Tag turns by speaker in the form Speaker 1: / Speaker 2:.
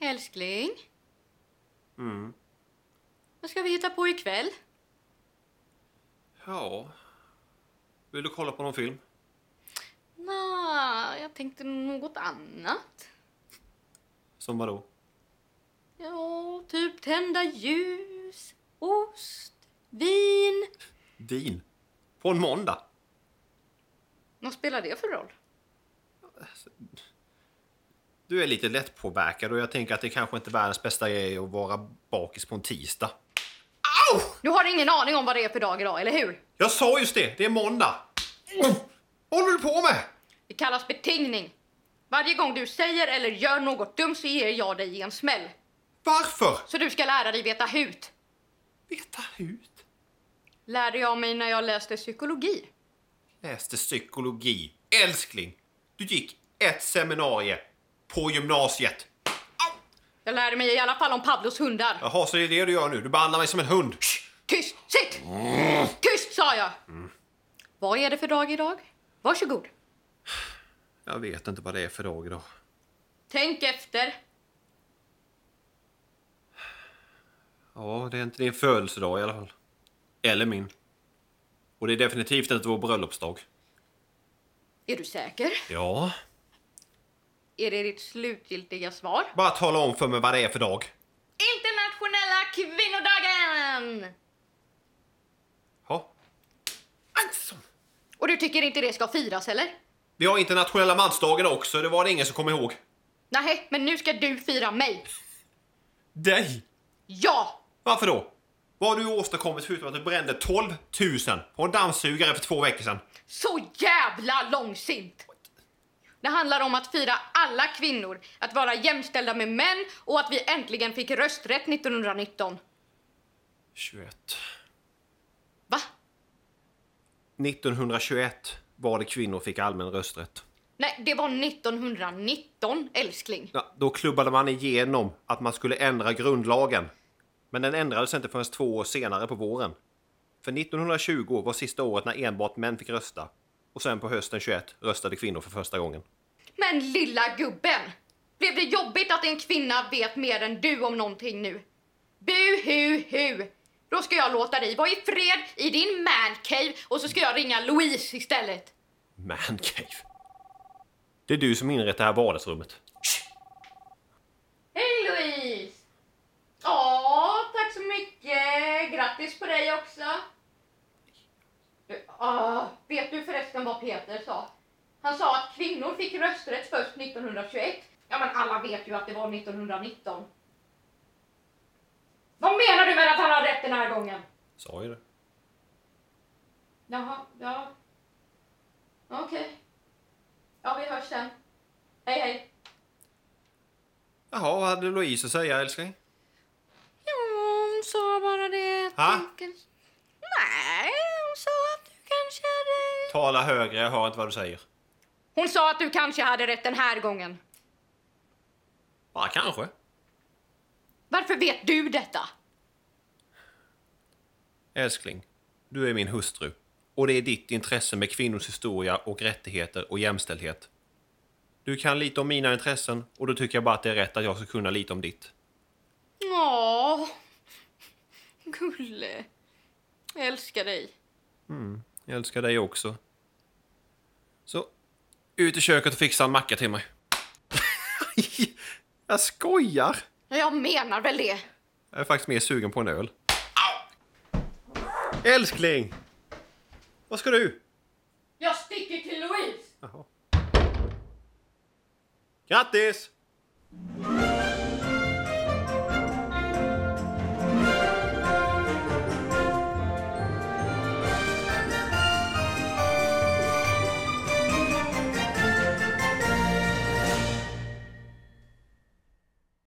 Speaker 1: Älskling? Vad ska vi hitta på ikväll?
Speaker 2: Ja. Vill du kolla på någon film?
Speaker 1: Nå, jag tänkte något annat.
Speaker 2: Som vadå?
Speaker 1: Ja, typ tända ljus, ost, vin.
Speaker 2: Din. På en måndag.
Speaker 1: Vad spelar det för roll?
Speaker 2: Du är lite lättpåverkad och jag tänker att det kanske inte är världens bästa grej att vara bakis på en tisdag. Au!
Speaker 1: Du har ingen aning om vad det är för dag idag, eller hur?
Speaker 2: Jag sa just det, det är måndag. Vad håller du på med?
Speaker 1: Det kallas betingning. Varje gång du säger eller gör något dumt så ger jag dig en smäll.
Speaker 2: Varför?
Speaker 1: Så du ska lära dig veta hut.
Speaker 2: Veta ut.
Speaker 1: Lärde jag mig när jag läste psykologi.
Speaker 2: Läste psykologi. Älskling, du gick ett seminarium på gymnasiet.
Speaker 1: Jag lärde mig i alla fall om Pavlos hundar.
Speaker 2: Jaha, så det är det du gör nu? Du behandlar mig som en hund.
Speaker 1: Tyst! Sitt! Tyst sa jag! Vad är det för dag idag? Varsågod.
Speaker 2: Jag vet inte vad det är för dag idag.
Speaker 1: Tänk efter.
Speaker 2: Ja, det är inte din födelsedag i alla fall. Eller min. Och det är definitivt inte vår bröllopsdag.
Speaker 1: Är du säker?
Speaker 2: Ja.
Speaker 1: Är det ditt slutgiltiga svar?
Speaker 2: Bara tala om för mig vad det är för dag.
Speaker 1: Internationella kvinnodagen!
Speaker 2: Ja. Alltså.
Speaker 1: Och du tycker inte det ska firas eller?
Speaker 2: Vi har internationella mansdagen också, det var det ingen som kom ihåg.
Speaker 1: Nej, men nu ska du fira mig.
Speaker 2: Dig?
Speaker 1: Ja!
Speaker 2: Varför då? Vad har du åstadkommit förutom att du brände 12 000 på en dammsugare för två veckor sedan?
Speaker 1: Så jävla långsint! Det handlar om att fira alla kvinnor, att vara jämställda med män och att vi äntligen fick rösträtt 1919.
Speaker 2: 21.
Speaker 1: Va?
Speaker 2: 1921 var det kvinnor fick allmän rösträtt.
Speaker 1: Nej, det var 1919, älskling.
Speaker 2: Ja, då klubbade man igenom att man skulle ändra grundlagen. Men den ändrades inte förrän två år senare på våren. För 1920 var sista året när enbart män fick rösta. Och sen på hösten 21 röstade kvinnor för första gången.
Speaker 1: Men lilla gubben! Blev det jobbigt att en kvinna vet mer än du om någonting nu? Bu hu hu! Då ska jag låta dig vara i fred i din mancave och så ska jag ringa Louise istället.
Speaker 2: Mancave. Det är du som inrett det här vardagsrummet.
Speaker 1: Hej Louise! Ja, tack så mycket. Grattis på dig också. Du, ah, vet du förresten vad Peter sa? Han sa att kvinnor fick rösträtt först 1921. Ja, men alla vet ju att det var 1919. Vad menar du med att han har rätt den här gången?
Speaker 2: Sa ju det.
Speaker 1: Jaha, ja. Okej. Ja, vi hörs sen. Hej, hej.
Speaker 2: Jaha, vad hade Louise att säga älskling?
Speaker 1: Ja, hon sa bara det. att
Speaker 2: Ha?
Speaker 1: du kanske- Nej, hon sa att du kanske hade...
Speaker 2: Tala högre, jag hör inte vad du säger.
Speaker 1: Hon sa att du kanske hade rätt den här gången.
Speaker 2: Bara kanske.
Speaker 1: Varför vet du detta?
Speaker 2: Älskling, du är min hustru. Och det är ditt intresse med kvinnors historia och rättigheter och jämställdhet. Du kan lite om mina intressen och då tycker jag bara att det är rätt att jag ska kunna lite om ditt.
Speaker 1: Ja, Gulle. Jag älskar dig.
Speaker 2: Jag älskar dig också. Så, ut i köket och fixa en macka till mig. jag skojar!
Speaker 1: Ja, Jag menar väl det.
Speaker 2: Jag är faktiskt mer sugen på en öl. Älskling! Vad ska du?
Speaker 1: Jag sticker till Louise.
Speaker 2: Grattis!